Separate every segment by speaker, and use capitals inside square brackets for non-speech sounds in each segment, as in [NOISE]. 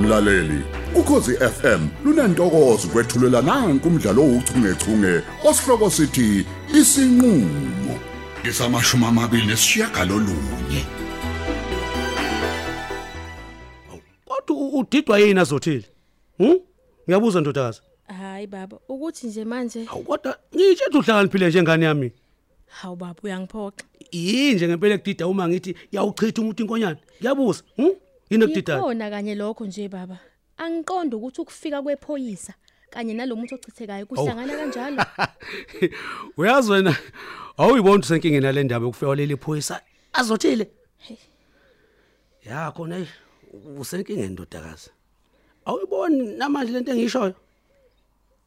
Speaker 1: mlaleli ukhosi FM lunantokozo kwethulela nanku umdlalo ouchungechunge osihloko sithi isinqulo ngisamashuma amabili nesishiyagalolunye
Speaker 2: kodwa u- udidwa yini azothile hm ngiyabuza ntokazi
Speaker 3: Hayi baba, ukuthi nje manje
Speaker 2: awu kodwa ngiyitshela uhlakaniphile njengane yami
Speaker 3: hawu baba uyangiphoxa.
Speaker 2: yinje ngempela ekudida uma ngithi yawuchitha umuntu inkonyane ngiyabuza hm yini ekudidayo
Speaker 3: Ikhona kanye lokho nje baba. Angiqondi ukuthi ukufika kwephoyisa kanye nalomuntu ochithekayo kuhlangana
Speaker 2: [LAUGHS]
Speaker 3: kanjalo.
Speaker 2: [LAUGHS] uyazi wena awuyibona usenkingeni yale ndaba yokufika leli iphoyisa azothile ya khona eh, usenkingeni ndodakazi awuyiboni namanje lento engishoyo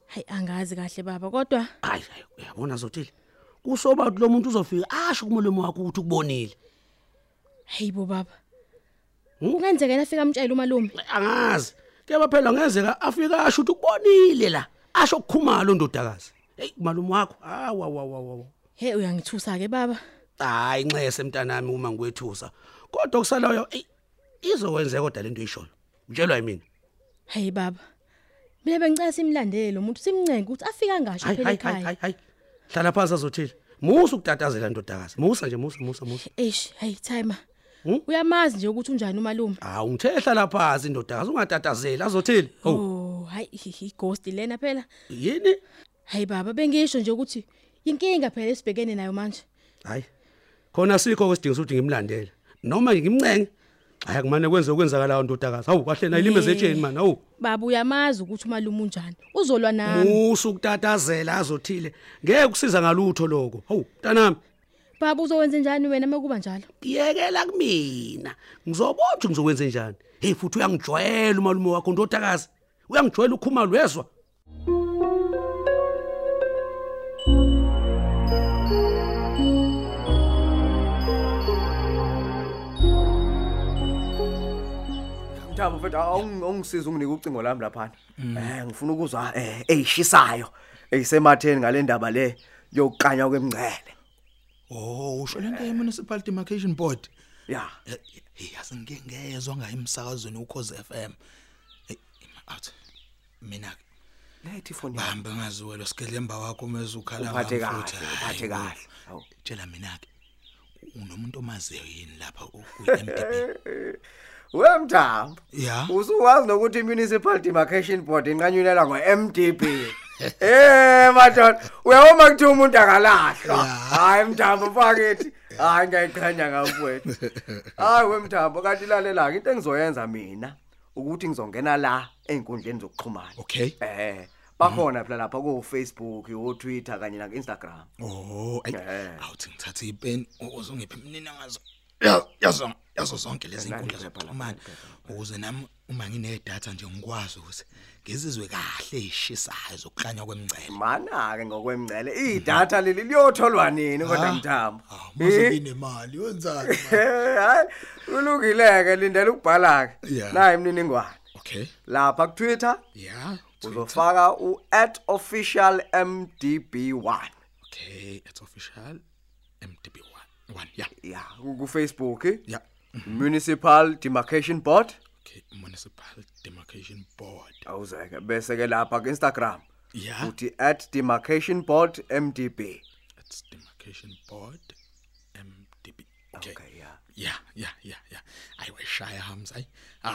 Speaker 3: Hayi angazi kahle baba, kodwa
Speaker 2: hayi hayi uyabona azothile kusoba ukuthi lo muntu uzofika asho kumlomo wakho ukuthi ukubonile
Speaker 3: hayi bo baba.
Speaker 2: Hmm?
Speaker 3: Kungenzeka yena afika amtshela umalume.
Speaker 2: angazi kuyaba phela ngenzeka afika asho ukuthi ukubonile la asho ukukhuma lo ndodakazi hey malume wakho hawa wa wa wa
Speaker 3: He uyangithusa ke baba.
Speaker 2: hayi inxese mntanami uma ngikwethusa kodwa kusalayo eyi, izokwenzeka kodwa lento ishoyo utshelwa yimina
Speaker 3: Hayi baba. Mina bengicela simlandele lo muntu simncenge ukuthi afika ngasho
Speaker 2: hayi
Speaker 3: phela
Speaker 2: hayi hayi
Speaker 3: ekhaya.
Speaker 2: hayi hayi hlala phansi azothile musa ukutatazela ndodakazi musa nje musa musa musa
Speaker 3: Eish, hayi timer.
Speaker 2: Hmm?
Speaker 3: Uyamazi nje ukuthi unjani umalume.
Speaker 2: hawu ngithe hlala phansi indodakazi ungatatazeli azothile oh
Speaker 3: Oh, hayi i ghost lena phela.
Speaker 2: yini
Speaker 3: Hayi baba bengisho nje ukuthi inkinga phela esibhekene nayo manje.
Speaker 2: hayi khona sikho kwesidingo sokuthi ngimlandele noma nje ngimncenge hayi kumane kwenze okwenzakalayo ndodakazi hawu kahle nayo ilime
Speaker 3: Yeah.
Speaker 2: zetsheni mani hawu
Speaker 3: Baba uyamazi ukuthi umalume unjani. Uzolwa nami.
Speaker 2: musa ukutatazela azothile ngeke kusiza ngalutho lokho hawu mntanami
Speaker 3: Baba uzowenza njani wena mekuba njalo?
Speaker 2: yekela kumina ngizobona ukuthi ngizokwenze njani hey futhi uyangijwayela umalume wakho ndodakazi uyangijwayela ukhuma lwezwa
Speaker 4: Mthabo mfethu awung- awungisiza unginike ucingo lami laphana. Eh ngifuna ukuzwa eh eyishisayo eyisematheni ngale ndaba le yokukanya kwemngcele.
Speaker 5: Oh, usho lento
Speaker 4: Eh.
Speaker 5: ye municipal demarcation board. Eh,
Speaker 4: Yeah.
Speaker 5: Hey, asingeke ngezwe ngayo emsakazweni ukhoze FM. Hey, ima out. Mina
Speaker 4: Lethi ifoni. yakho.
Speaker 5: bahambe ngaziwelo sikelemba wakho meze ukhala
Speaker 4: Uphathe
Speaker 5: ngami
Speaker 4: kahle, uphathe
Speaker 5: Hayi,
Speaker 4: kahle.
Speaker 5: bo.
Speaker 4: Hawu.
Speaker 5: Tshela mina ke. Unomuntu omaziyo yini lapha u-M
Speaker 4: [LAUGHS]
Speaker 5: ku-MDB?
Speaker 4: We Mthabo.
Speaker 5: Yeah.
Speaker 4: Usuwazi nokuthi municipal demarcation board inqanyulela ngo-MDB. Eh madod, uyawoma kuthi umuntu akalahlwa. Hayi Mthabo mfakithi. Hayi ngiyayiqhenya ngakuwethu. Hayi wemthambo kanti lalela into engizoyenza mina ukuthi ngizongena la einkundleni zokuxhumana.
Speaker 5: Okay.
Speaker 4: Eh. Bakhona phela lapha ku Facebook, ku Twitter kanye na Instagram.
Speaker 5: Oh, ayi,
Speaker 4: Yeah.
Speaker 5: awuthi ngithathe ipeni ukuze ungiphe imnina ngazo. Ya- Yazo yazo zonke lezi
Speaker 4: Nandi
Speaker 5: nkundla
Speaker 4: phepha lapha,
Speaker 5: zokuxhumana ukuze nami uma nginedatha nje ngikwazi ukuthi ngizizwe kahle eshisayo zokuklanywa kwemngcele.
Speaker 4: Mana ke ngokwemngcele idatha leli liyotholwa nini kodwa mthambo.
Speaker 5: Ah, mase nginemali yenzani?
Speaker 4: [LAUGHS]
Speaker 5: ma?
Speaker 4: Eh, Hayi ulungileke lindela ukubhala ke.
Speaker 5: Yeah.
Speaker 4: Nayi imniningwane.
Speaker 5: Okay.
Speaker 4: Lapha ku Twitter
Speaker 5: Yeah.
Speaker 4: uzofaka u @officialmdb1.
Speaker 5: Okay, it's official MDB1. 1. Yeah.
Speaker 4: Ya, ku Facebook
Speaker 5: Yeah.
Speaker 4: Municipal Demarcation Board.
Speaker 5: Okay, municipal demarcation board.
Speaker 4: awuzeke bese ke lapha ku Instagram
Speaker 5: Yeah.
Speaker 4: uthi @demarcationboardmdb
Speaker 5: It's demarcation board MDB.
Speaker 4: Okay, yeah.
Speaker 5: Yeah, yeah, yeah, yeah. Ayiweshaya hams ayi.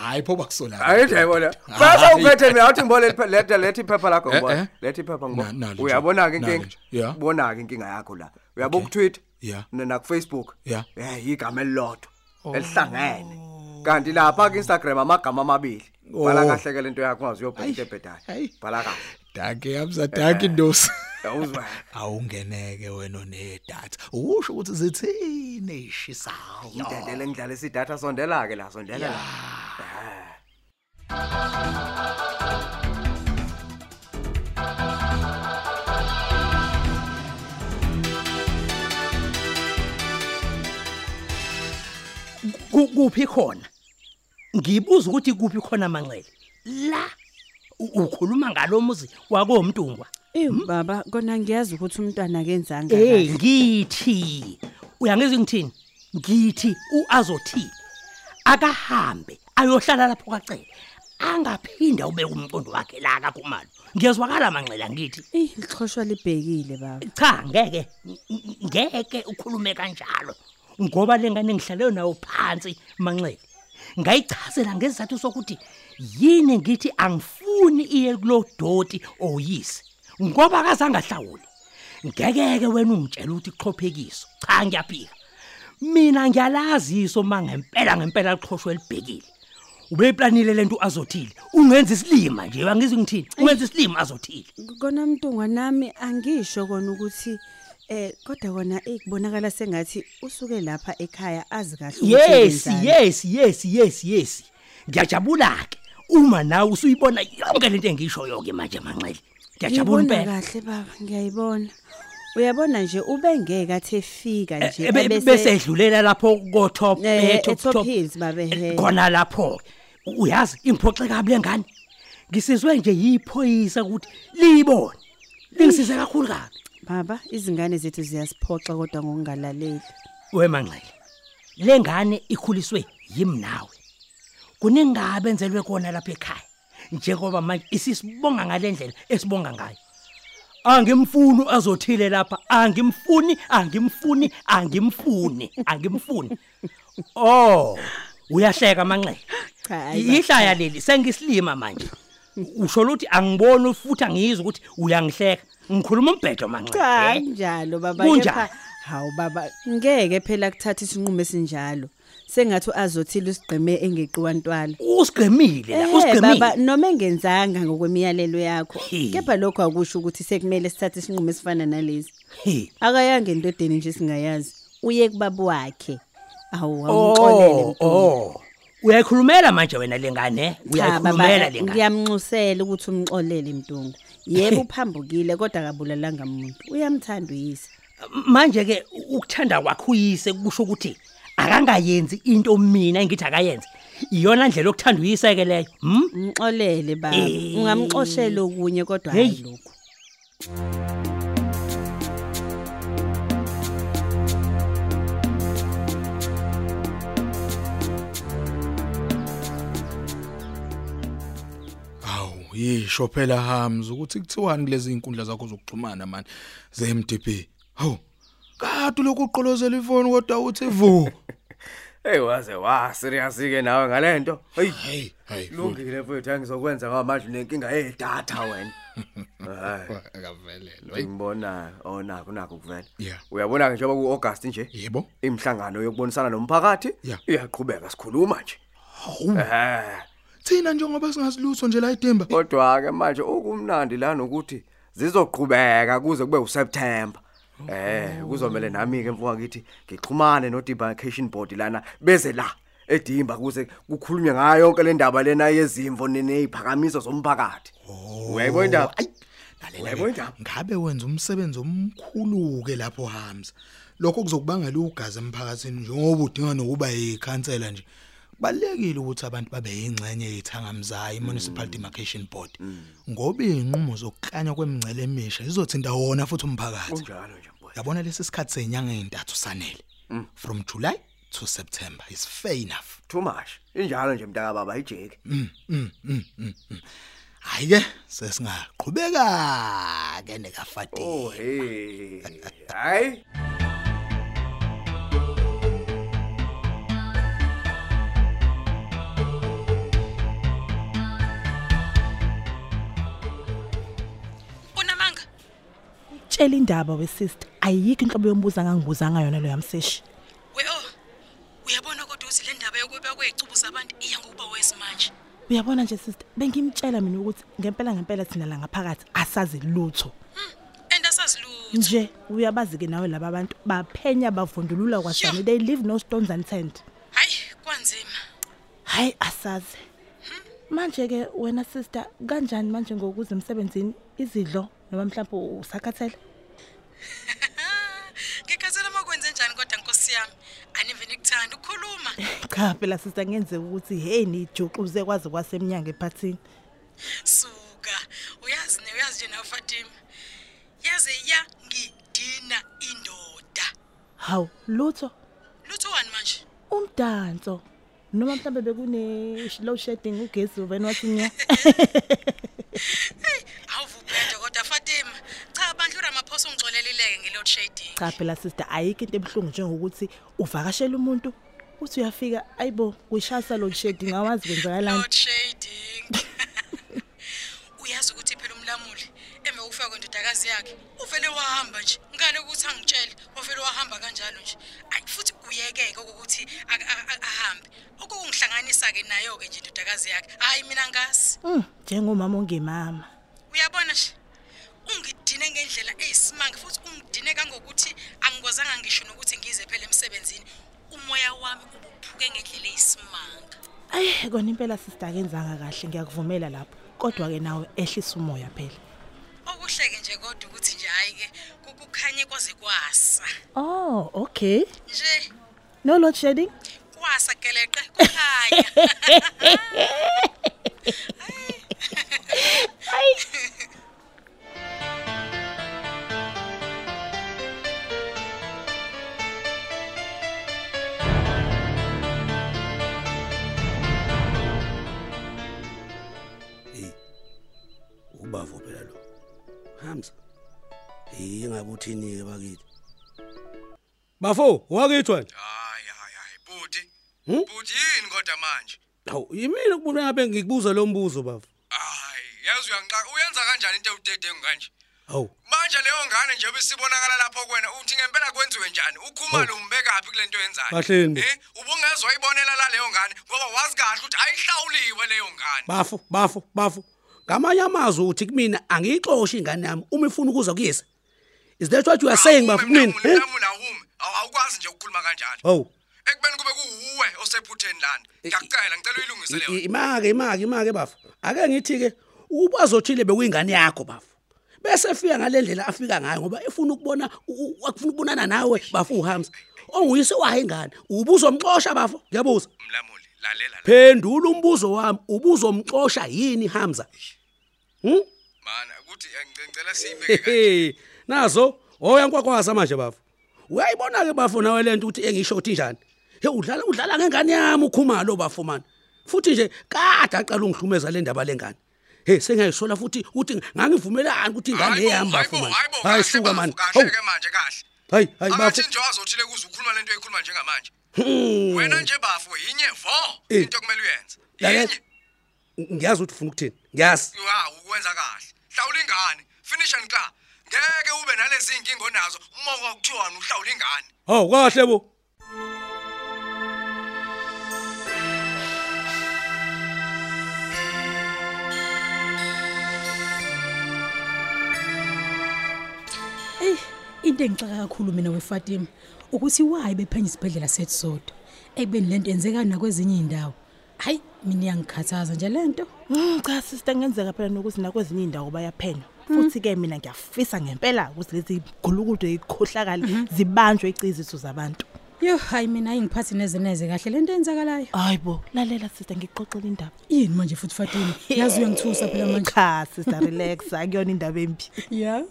Speaker 5: Hayi phoba kusola. [LAUGHS]
Speaker 4: ayidayibona bese
Speaker 5: Ah, Hayi.
Speaker 4: uphethe mina uthi ngibole iphe- leta lethi iphepha lakho
Speaker 5: Eh,
Speaker 4: ngibona
Speaker 5: eh.
Speaker 4: lethi iphepha
Speaker 5: Na- nalo
Speaker 4: ngibona
Speaker 5: nje.
Speaker 4: uyabona ke
Speaker 5: Nalo nje.
Speaker 4: inkinga
Speaker 5: Yeah.
Speaker 4: ubona ke inkinga yakho la uyabo
Speaker 5: Okay.
Speaker 4: ku Twitter
Speaker 5: Yeah.
Speaker 4: na ku Facebook
Speaker 5: Yeah.
Speaker 4: eh igama elilodwa
Speaker 5: Oh.
Speaker 4: elihlangene kanti lapha ku Instagram amagama amabili bhala
Speaker 5: Oh.
Speaker 4: kahle ke lento yakho ungaze uyobheka ebhedayo
Speaker 5: ayi.
Speaker 4: bhala kahle
Speaker 5: Dake hamsa dake ndosi. [LAUGHS]
Speaker 4: awuzwa
Speaker 5: Eh. Oh. Awungeneke wena onedatha. Usho ukuthi zithini eshisayo.
Speaker 4: ngidedele ngidlala isidatha sondela ke la sondela la
Speaker 6: Ku- kuphi khona ngibuza ukuthi kuphi khona manxele la u- ukhuluma ngalo muzi wakomntungwa
Speaker 7: Ew baba kona ngiyazi ukuthi umntwana akenzanga
Speaker 6: hey
Speaker 7: kahle.
Speaker 6: ngithi uyangizwa ngithini ngithi uazothi akahambe ayohlala lapho kwacele angaphinda ubeka umqondo wakhe la kakhumalo ngiyazwakala manxela ngithi
Speaker 7: eyi lixhoshwa libhekile baba
Speaker 6: cha ngeke ng- ng- ngeke ukhulume kanjalo ngoba lengane ngihlaleyo nayo phansi manxele ngayichazela ngesizathu sokuthi yini ngithi angifuni iye kulo doti oyise ngoba akazangahlawuli ngeke-ke wena ungitshela ukuthi kuxhophekiso cha ngiyaphika mina ngiyalaziso ma ngempela ngempela liqhoshwe elibhekile ubeyiplanile lento azothile ungenza isilima nje angizwi ngithini ungenza isilima azothile
Speaker 7: kona mntungwa nami angisho kona ukuthi eh kodwa kona ekubonakala sengathi usuke lapha ekhaya azi kahle ukuthi
Speaker 6: yes
Speaker 7: wenzani.
Speaker 6: yes yes yes yes ngiyajabula ke uma nawe usuyibona yonke lento engishoyo ke manje manxele
Speaker 7: Ngiyibona
Speaker 6: ngiyajabula impela
Speaker 7: kahle baba ngiyayibona uyabona nje ubengeke athe fika
Speaker 6: Eh,
Speaker 7: nje
Speaker 6: ebe- bese edlulela lapho ko top
Speaker 7: Eh,
Speaker 6: eh, top
Speaker 7: e-Top
Speaker 6: top
Speaker 7: Hills, babe,
Speaker 6: Eh,
Speaker 7: he.
Speaker 6: khona lapho uyazi imphoxe kabi lengane ngisizwe nje yiphoyisa ukuthi liyibone lingisize kakhulu kabi
Speaker 7: baba izingane zethu ziyasiphoxa kodwa ngokungalaleli
Speaker 6: wemanxele le ngane ikhuliswe yimi nawe kuningabe enzelwe kona lapha ekhaya njengoba manje isisibonga ngalendlela esibonga ngayo angimfuni azothile lapha angimfuni angimfuni angimfuni angimfuni oh uyahleka manxele
Speaker 7: Cha, hayi ba-
Speaker 6: ihlaya leli sengisilima manje usho ukuthi angiboni futhi angiyizwa ukuthi uyangihleka ngikhuluma umbhedo manxele
Speaker 7: cha njalo baba
Speaker 6: Kunjani?
Speaker 7: kepha hawu baba ngeke phela kuthatha isinqumo esinjalo sengathi azothile usigqime engeqiwa ntwala
Speaker 6: usigqemile la
Speaker 7: Eh
Speaker 6: usigqemile
Speaker 7: baba noma engenzanga ngokwemiyalelo yakho
Speaker 6: He.
Speaker 7: kepha lokho akusho ukuthi sekumele sithathe isinqumo esifana nalezi
Speaker 6: He.
Speaker 7: akayange endodeni nje singayazi uye kubaba wakhe awu awumxolele
Speaker 6: Oh,
Speaker 7: mntu.
Speaker 6: oh. Uyayikhulumela manje wena lengane?
Speaker 7: Cha, baba,
Speaker 6: Uyayikhulumela lengane.
Speaker 7: ngiyamnxusela ukuthi umxolele mntungu yebo uphambukile kodwa akabulalanga muntu uyamthanda uyise
Speaker 6: Manje ke ukuthanda kwakho uyise kusho ukuthi akangayenzi into mina ngithi akayenze. Iyona ndlela yokuthanda uyise ke leyo. Hm?
Speaker 7: umxolele baba
Speaker 6: Eh.
Speaker 7: ungamxoshela okunye kodwa hayi
Speaker 6: Hey.
Speaker 7: lokho
Speaker 5: Aw, yisho phela hams ukuthi kuthiwani kulezi inkundla zakho zokuxhumana man ze-MDB. Haw. Kade lokhu uqolozela ifoni kodwa uthi vu.
Speaker 4: Hey waze wa serious ke nawe ngalento. Hey
Speaker 5: Hey, hey.
Speaker 4: kulungile mfowethu angizokwenza ngamanje nenkinga yedatha wena.
Speaker 5: [LAUGHS]
Speaker 4: Hayi
Speaker 5: akavelelwe.
Speaker 4: ngibona oh, onako nako kuvela.
Speaker 5: Yeah.
Speaker 4: Uyabona ke njengoba kuAugust nje
Speaker 5: Yebo.
Speaker 4: imhlangano yokubonisana nomphakathi
Speaker 5: Yeah.
Speaker 4: iyaqhubeka sikhuluma nje. Eh
Speaker 5: Thina njengoba singasilutho nje la idemba.
Speaker 4: kodwa ke manje okumnandi la nokuthi zizoqhubeka kuze kube uSeptember. Eh kuzomela nami ke mfowethu ngithi ngixhumane nodemarcation board lana beze la edimba kuze kukhulunywe ngayo yonke le ndaba lena yezimvo neneziphakamiso zomphakathi. Uyayibona indaba? Uyayibona
Speaker 5: Lalela.
Speaker 4: indaba?
Speaker 5: Ngabe wenza umsebenzi omkhulu ke lapho hams. Lokho kuzokubangela ugazi emphakathini njengoba udinga nokuba yikhansela nje. Balekile ukuthi abantu babe ingcenye yethangamzayo municipal demarcation board. Ngoba inqumo zokukanya kwemingcele emisha izothinta wona futhi umphakathi.
Speaker 4: Kunjalo nje mfowethu.
Speaker 5: Yabona lesi sikhathi senyanga ezintathu sanele. From July to September is fair enough.
Speaker 4: Too much. Injalo nje mntaka baba ijeke.
Speaker 5: Hayi ke sesingaqhubeka ke nekafati.
Speaker 4: Oh hey. Hayi.
Speaker 8: unamanga tshela indaba wesister ayikho inhlobo yombuza ngangibuza ngayona lo yamseshi
Speaker 9: Weyo. Uyabona kodwa uthi le ndaba yokuba kwecubu zabantu iya ngokuba wesimanje.
Speaker 8: uyabona nje sister bengimtshela mina ukuthi ngempela ngempela thina la ngaphakathi asazi lutho
Speaker 9: Hmm, And asazilutho.
Speaker 8: nje uyabazi ke nawe laba bantu baphenya bavundulula kwasani they live no stones unturned
Speaker 9: Hayi kwanzima. Hmm?
Speaker 8: hayi asazi manje ke wena sister kanjani manje ngokuza emsebenzini izidlo noma mhlawumbe usakhathele
Speaker 9: Ngikhathele makwenze njani kodwa Nkosi yami. Anive nikuthanda ukukhuluma.
Speaker 8: [LAUGHS] cha phela sister ngenzeka ukuthi hey nijuxuze kwaze kwasemnyango ephathini
Speaker 9: Suka. Uyazi ne uyazi nje nawe Fatima. Yaze ya ngidina indoda.
Speaker 8: hawu lutho
Speaker 9: Lutho wani manje?
Speaker 8: umdanso noma mhlawumbe bekune-low shedding ugesi uveni wathi nya
Speaker 9: awuvubhede kodwa fatima cha bandlula amaphosa ungixolelileke nge-load shedding
Speaker 8: cha phela sister ayikho into ebuhlungu njengokuthi uvakashele umuntu uthi uyafika ayibo kuyishasa load shedding awazi kwenzakalani
Speaker 9: load shedding [LAUGHS] uyazi ukuthi phela umlamuli emva kokufa kwendodakazi yakhe uvele wahamba nje ngale ukuthi angitshele wavele wahamba kanjalo nje ayi futhi uyekeke ukuthi ahambe okungihlanganisa-ke nayo-ke nje indodakazi yakhe hhayi mina ngazi
Speaker 8: Mm, njengomama ongemama
Speaker 9: uyabona nje ungidine ngendlela eyisimanga futhi ungidine kangokuthi angikwazanga ngisho nokuthi ngize phela emsebenzini umoya wami ubuphuke ngendlela eyisimanga
Speaker 8: ayi kona impela sister akenzanga kahle ngiyakuvumela lapho kodwa-ke nawe ehlisa umoya phela
Speaker 9: okuhle-ke nje kodwa ukuthi nje hhayi-ke kukukhanye kwaze kwasa
Speaker 8: oh okay
Speaker 9: nje
Speaker 8: no load shedding
Speaker 9: kwasa geleqe kukhanya
Speaker 2: ubavo phela lo hamza hey ngabe uthini ke bakithi bafo wakithwa nje
Speaker 4: hayi hayi hayi buti
Speaker 2: Hmm?
Speaker 4: buti yini kodwa manje
Speaker 2: awu yimina kubona ngabe ngikubuza lo mbuzo bafo
Speaker 4: hayi yazi uyangixa uyenza kanjani into ewudedengu kanje
Speaker 2: awu
Speaker 4: manje leyo ngane nje besibonakala lapho kwena uthi ngempela kwenziwe njani
Speaker 2: Oh.
Speaker 4: ukhumalo umbekaphi kule nto yenzayo
Speaker 2: Kahleni bo.
Speaker 4: Eh, ubungezwe wayibonela laleyo ngane ngoba wazi kahle ukuthi ayihlawuliwe leyo ngane
Speaker 2: bafo bafo bafo ngamanye amazwi uthi kumina angiyixoshi ingane yami uma ifuna ukuza kuyisa is that what you are saying bafo kumina eh?
Speaker 4: mlamula awumi Awu- awukwazi nje ukukhuluma kanjalo
Speaker 2: awu
Speaker 4: ekubeni kube kuwuwe osephutheni lana
Speaker 2: Eh,
Speaker 4: ngiyakucela ngicela uyilungise leyo
Speaker 2: I- ima-ke ima-ke ima-ke bafo ake ngithi-ke ukuba azothile bekuyingane yakho bafo bese efika ngale ndlela afika ngayo ngoba efuna ukubona u- u- afuna ukubonana nawe bafo uhamza onguyise wayo ingane ubuzomxosha bafo ngiyabuza
Speaker 4: mlamuli lalela la.
Speaker 2: phendula umbuzo wami ubuzomxosha yini hamza hmm?
Speaker 4: mana ukuthi eh, ngic- ngicela siyibeke kanje
Speaker 2: Hehe, nazo oyankwakwaza manje bafo uyayibona-ke bafo nawe le nto ukuthi engishothi njani he udlala udlala ngengane yami ukhumalo bafo mani futhi nje kade acala ungihlumeza le ndaba lengane he sengiyayisola futhi ukuthi ngangivumelani ukuthi ingane
Speaker 4: Hayibo,
Speaker 2: eyami bafo
Speaker 4: hayibo,
Speaker 2: mani
Speaker 4: hayibo,
Speaker 2: hayi
Speaker 4: kahle
Speaker 2: suka
Speaker 4: bafo,
Speaker 2: mani hawu
Speaker 4: kahle-ke manje kahle
Speaker 2: hayi hayi bafo
Speaker 4: akathi nje wazothile kuze ukhuluma lento eyikhuluma njengamanje wena nje bafo yinye vo
Speaker 2: Hmm. Eh.
Speaker 4: into kumele uyenze
Speaker 2: lalela
Speaker 4: yinye
Speaker 2: ngiyazi ukuthi ufuna ukuthini ngiyazi
Speaker 4: ha ukwenza kahle hlawula ingane finish and xa ngeke ube nalezi inkingo nazo uma kwakuthiwani uhlawula ingane
Speaker 2: hawu kahle bo
Speaker 9: eyi [LAUGHS] into engixaka kakhulu mina wefatima ukuthi wayi bephenya isibhedlela sethu sodwa ekubeni le nto yenzekani nakwezinye iy'ndawo hhayi mina iyangikhathaza nje le nto
Speaker 8: Mm, cha sister kungenzeka phela nokuthi nakwezinye iy'ndawo bayaphenywa futhi-ke mina ngiyafisa ngempela ukuthi lezi gulukudo ikhohlakale zibanjwe iy'ciziso zabantu
Speaker 9: yo hhayi mina ayingiphathi nezeneze kahle le nto eyenzakalayo
Speaker 8: hayi bo lalela sister ngixoxela indaba
Speaker 9: yini manje futhi fatima yazi uyangithusa
Speaker 8: [LAUGHS]
Speaker 9: phela manje
Speaker 8: cha sister relax akuyona indaba embi
Speaker 9: ya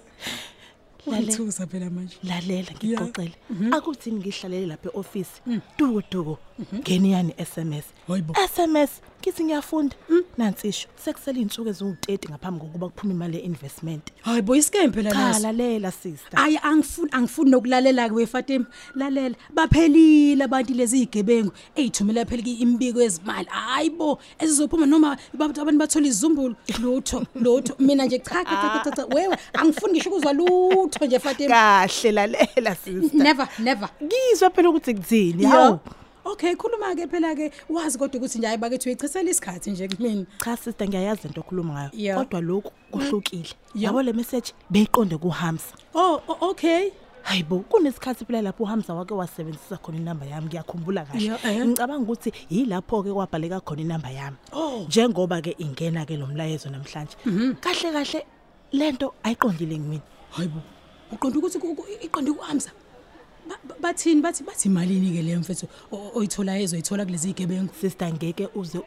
Speaker 8: Lalela.
Speaker 9: ungithusa phela manje
Speaker 8: lalela ngixoxele akuthini ngihlalele lapha e-ofisi dukuduku ngeniyani i-sms
Speaker 9: Hayibo.
Speaker 8: sms ngithi ngiyafunda nansisho sekusele iy'nsuku eziwu-30 ngaphambi kokuba kuphume imali ye-investment
Speaker 9: hayi bo isikeme phela
Speaker 8: cha
Speaker 9: laso
Speaker 8: lalela sister
Speaker 9: hayi angifuni angifuni nokulalela-ke wefatima lalela baphelile abantu lezi y'gebengu ey'thumela phela imbiko yezimali hhayi bo ezizophuma noma abantu abantu bathole izumbulo lutho lutho mina nje cha cha, cha cha,
Speaker 8: [LAUGHS]
Speaker 9: cha wewe angifuni ngisho ukuzwa lutho nje fatima
Speaker 8: kahle lalela sister
Speaker 9: never never
Speaker 8: ngizwa phela ukuthi kuthini hawu
Speaker 9: yo okay khuluma-ke phela-ke wazi kodwa ukuthi nje hayi bakethi uyichithela isikhathi nje kumina
Speaker 8: cha sister ngiyayazi lento okhuluma ngayo
Speaker 9: Yeah. Mm.
Speaker 8: kodwa lokhu kuhlukile
Speaker 9: Yeah.
Speaker 8: yabo le message beyiqonde kuhamza
Speaker 9: oh o- okay
Speaker 8: hayi bo kunesikhathi phela lapho uhamza wake wasebenzisa khona inamba yami ngiyakhumbula kahle
Speaker 9: Yeah, eh.
Speaker 8: ngicabanga ukuthi yilapho-ke kwabhaleka khona inamba yami
Speaker 9: Oh. Mm-hmm.
Speaker 8: njengoba-ke ingena-ke lo mlayezo namhlanje kahle kahle le nto ayiqondile kumina
Speaker 9: hayi bo uqonda ukuthi ku- ku- iqonde ku-amsa Ba- ba- bathini bathi bathi malini-ke leyo mfethu o- oyitholayo ezoyithola kulezi y'gebengu
Speaker 8: sister ngeke uze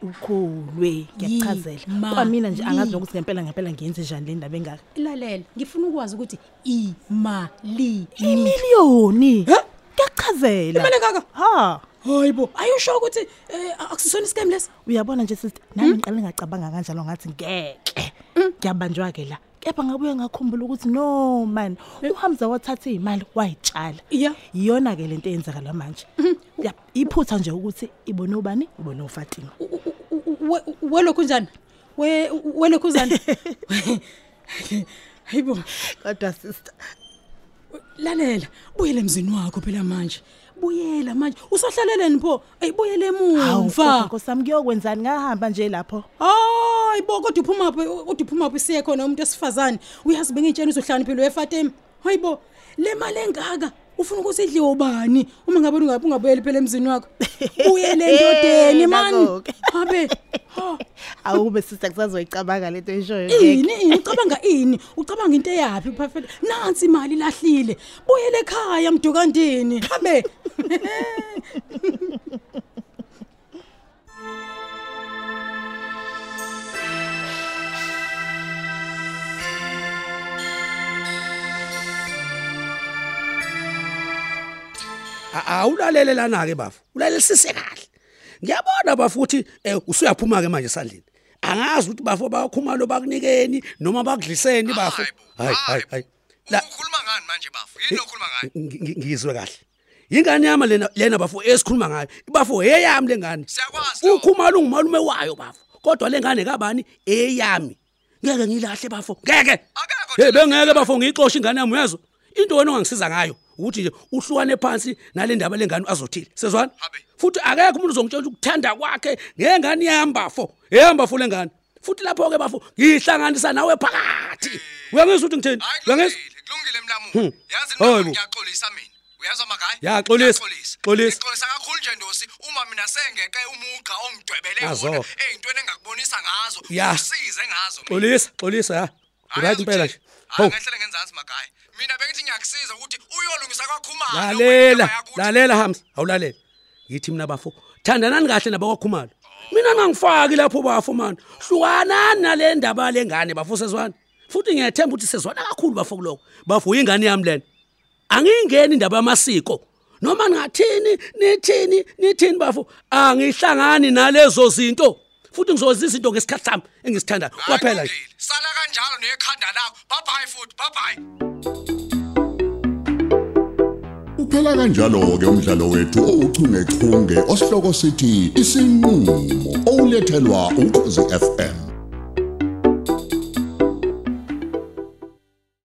Speaker 8: ukholwe
Speaker 9: Yima,
Speaker 8: ngiyakuchazela kwamina nje angazi
Speaker 9: yi.
Speaker 8: nokuthi ngempela ngempela ngiyenze njani le ndaba engaka
Speaker 9: lalela ngifuna ukwazi ukuthi imalini
Speaker 8: imiliyoni
Speaker 2: Eh?
Speaker 8: ngiyakuchazela
Speaker 9: Imali engaka?
Speaker 8: ha
Speaker 9: hayibo ayusho ukuthi eh, akusisona isikemu lesi
Speaker 8: uyabona nje sister nami ngiqale ngacabanga kanjalo ngathi ngeke ngiyabanjwa ke la kepha ngabuye ngakhumbula ukuthi no man uhamza wathatha imali wayitshala
Speaker 9: Ya.
Speaker 8: iyona ke lento eyenzeka la manje Ya, iphutha nje ukuthi ibone ubani ibone uFatima
Speaker 9: U- u- u- u- we- welokhu njani We-
Speaker 8: [LAUGHS]
Speaker 9: welokhu njani hayibo
Speaker 8: kodwa sister
Speaker 9: lalela buyele emzini wakho phela manje buyela manje usahlaleleni pho ayibuyele
Speaker 8: hawu
Speaker 9: emumva
Speaker 8: nkosami kuyokwenzani ngahamba nje lapho
Speaker 9: hayi bo kodwa uphuma phi kodwa uphuma phi siye khona umuntu esifazane uyazi bengitshena uzohlala impilo yefatima hayi bo le mali engaka ufuna ukuthi idliwe ubani uma ngabe ungabe ungabuyeli phela emzini wakho buyele endodeni mani
Speaker 8: Nakho-ke.
Speaker 9: abe ha
Speaker 8: awube sister kusazoyicabanga lento eshoyo
Speaker 9: ini ini ucabanga ini ucabanga into eyaphi perfect nansi imali lahlile buyele ekhaya mdukandini kabe
Speaker 2: awulalele lana Ah, ke bafu ulalelisise kahle ngiyabona bafu ukuthi eh, usuyaphuma ke manje esandleni angazi ukuthi bafu bayakhuma lo bakunikeni noma bakudliseni bafu hayi hayi hayi la
Speaker 10: ukhuluma ngani manje bafu yini okhuluma ngani
Speaker 2: ngi- ngi- ngizwe kahle ingane yami lena lena bafu esikhuluma ngayo bafu eyami lengane
Speaker 10: Siyakwazi lokho.
Speaker 2: ukhumalo ngumalume wayo bafu kodwa lengane kabani eyami ngeke ngilahle bafu ngeke
Speaker 10: Akekho thina-
Speaker 2: hey bengeke bafu ngiyixosha ingane yami uyezwa into wena ongangisiza ngayo ukuthi nje uhlukane phansi nalendaba lengane azothile sezwana
Speaker 10: Habe.
Speaker 2: futhi akekho umuntu uzongitshela ukuthanda kwakhe ngengane yambafo eyambafo lengane futhi lapho ke bafu ngihlanganisa nawe phakathi uyangizwa ukuthi ngithini
Speaker 10: Hayi,
Speaker 2: uyangizwa
Speaker 10: kulungile kulungile mlamulo yazi
Speaker 2: Hayi
Speaker 10: mina
Speaker 2: bo.
Speaker 10: ngiyaxolisa mina uyazwa magayi
Speaker 2: Hmm. Oh, Ya, xolisa, xolisa.
Speaker 10: xolisa kakhulu nje ndosi uma mina sengeqe umugqa ongidwebele
Speaker 2: Yazo.
Speaker 10: wona eyintweni engakubonisa ngazo
Speaker 2: oh. Ya. Oh.
Speaker 10: usize ngazo mina.
Speaker 2: xolisa xolisa ya
Speaker 10: Hhayi,
Speaker 2: right impela
Speaker 10: uthini?
Speaker 2: nje
Speaker 10: Hhayi,
Speaker 2: hawu
Speaker 10: ngehlele ngenzansi magayi mina bengithi ngiyakusiza ukuthi uyolungisa kwakhumalo
Speaker 2: lalela
Speaker 10: wena indaba yakuthi.
Speaker 2: lalela hamza awulalela ngithi mina bafo thandanani kahle nabakwakhumalo mina ngangifaki lapho bafo mani hlukanani nale ndaba lengane bafo sezwana futhi ngiyethemba ukuthi sezwana kakhulu bafo kuloko bafo ingane yami lena angiyingeni indaba yamasiko noma ningathini nithini nithini bafo angihlangani nalezo zinto futhi ngizokwenza izinto ngesikhathi sami engisithandayo
Speaker 10: Hhayi,
Speaker 2: kwaphela nje
Speaker 10: kulungile. sala kanjalo nekhanda lakho babhayi futhi babhayi
Speaker 1: Uphela kanjalo ke umdlalo wethu ouchungechunge osihloko sithi isinqulo owulethelwa ukhozi FM.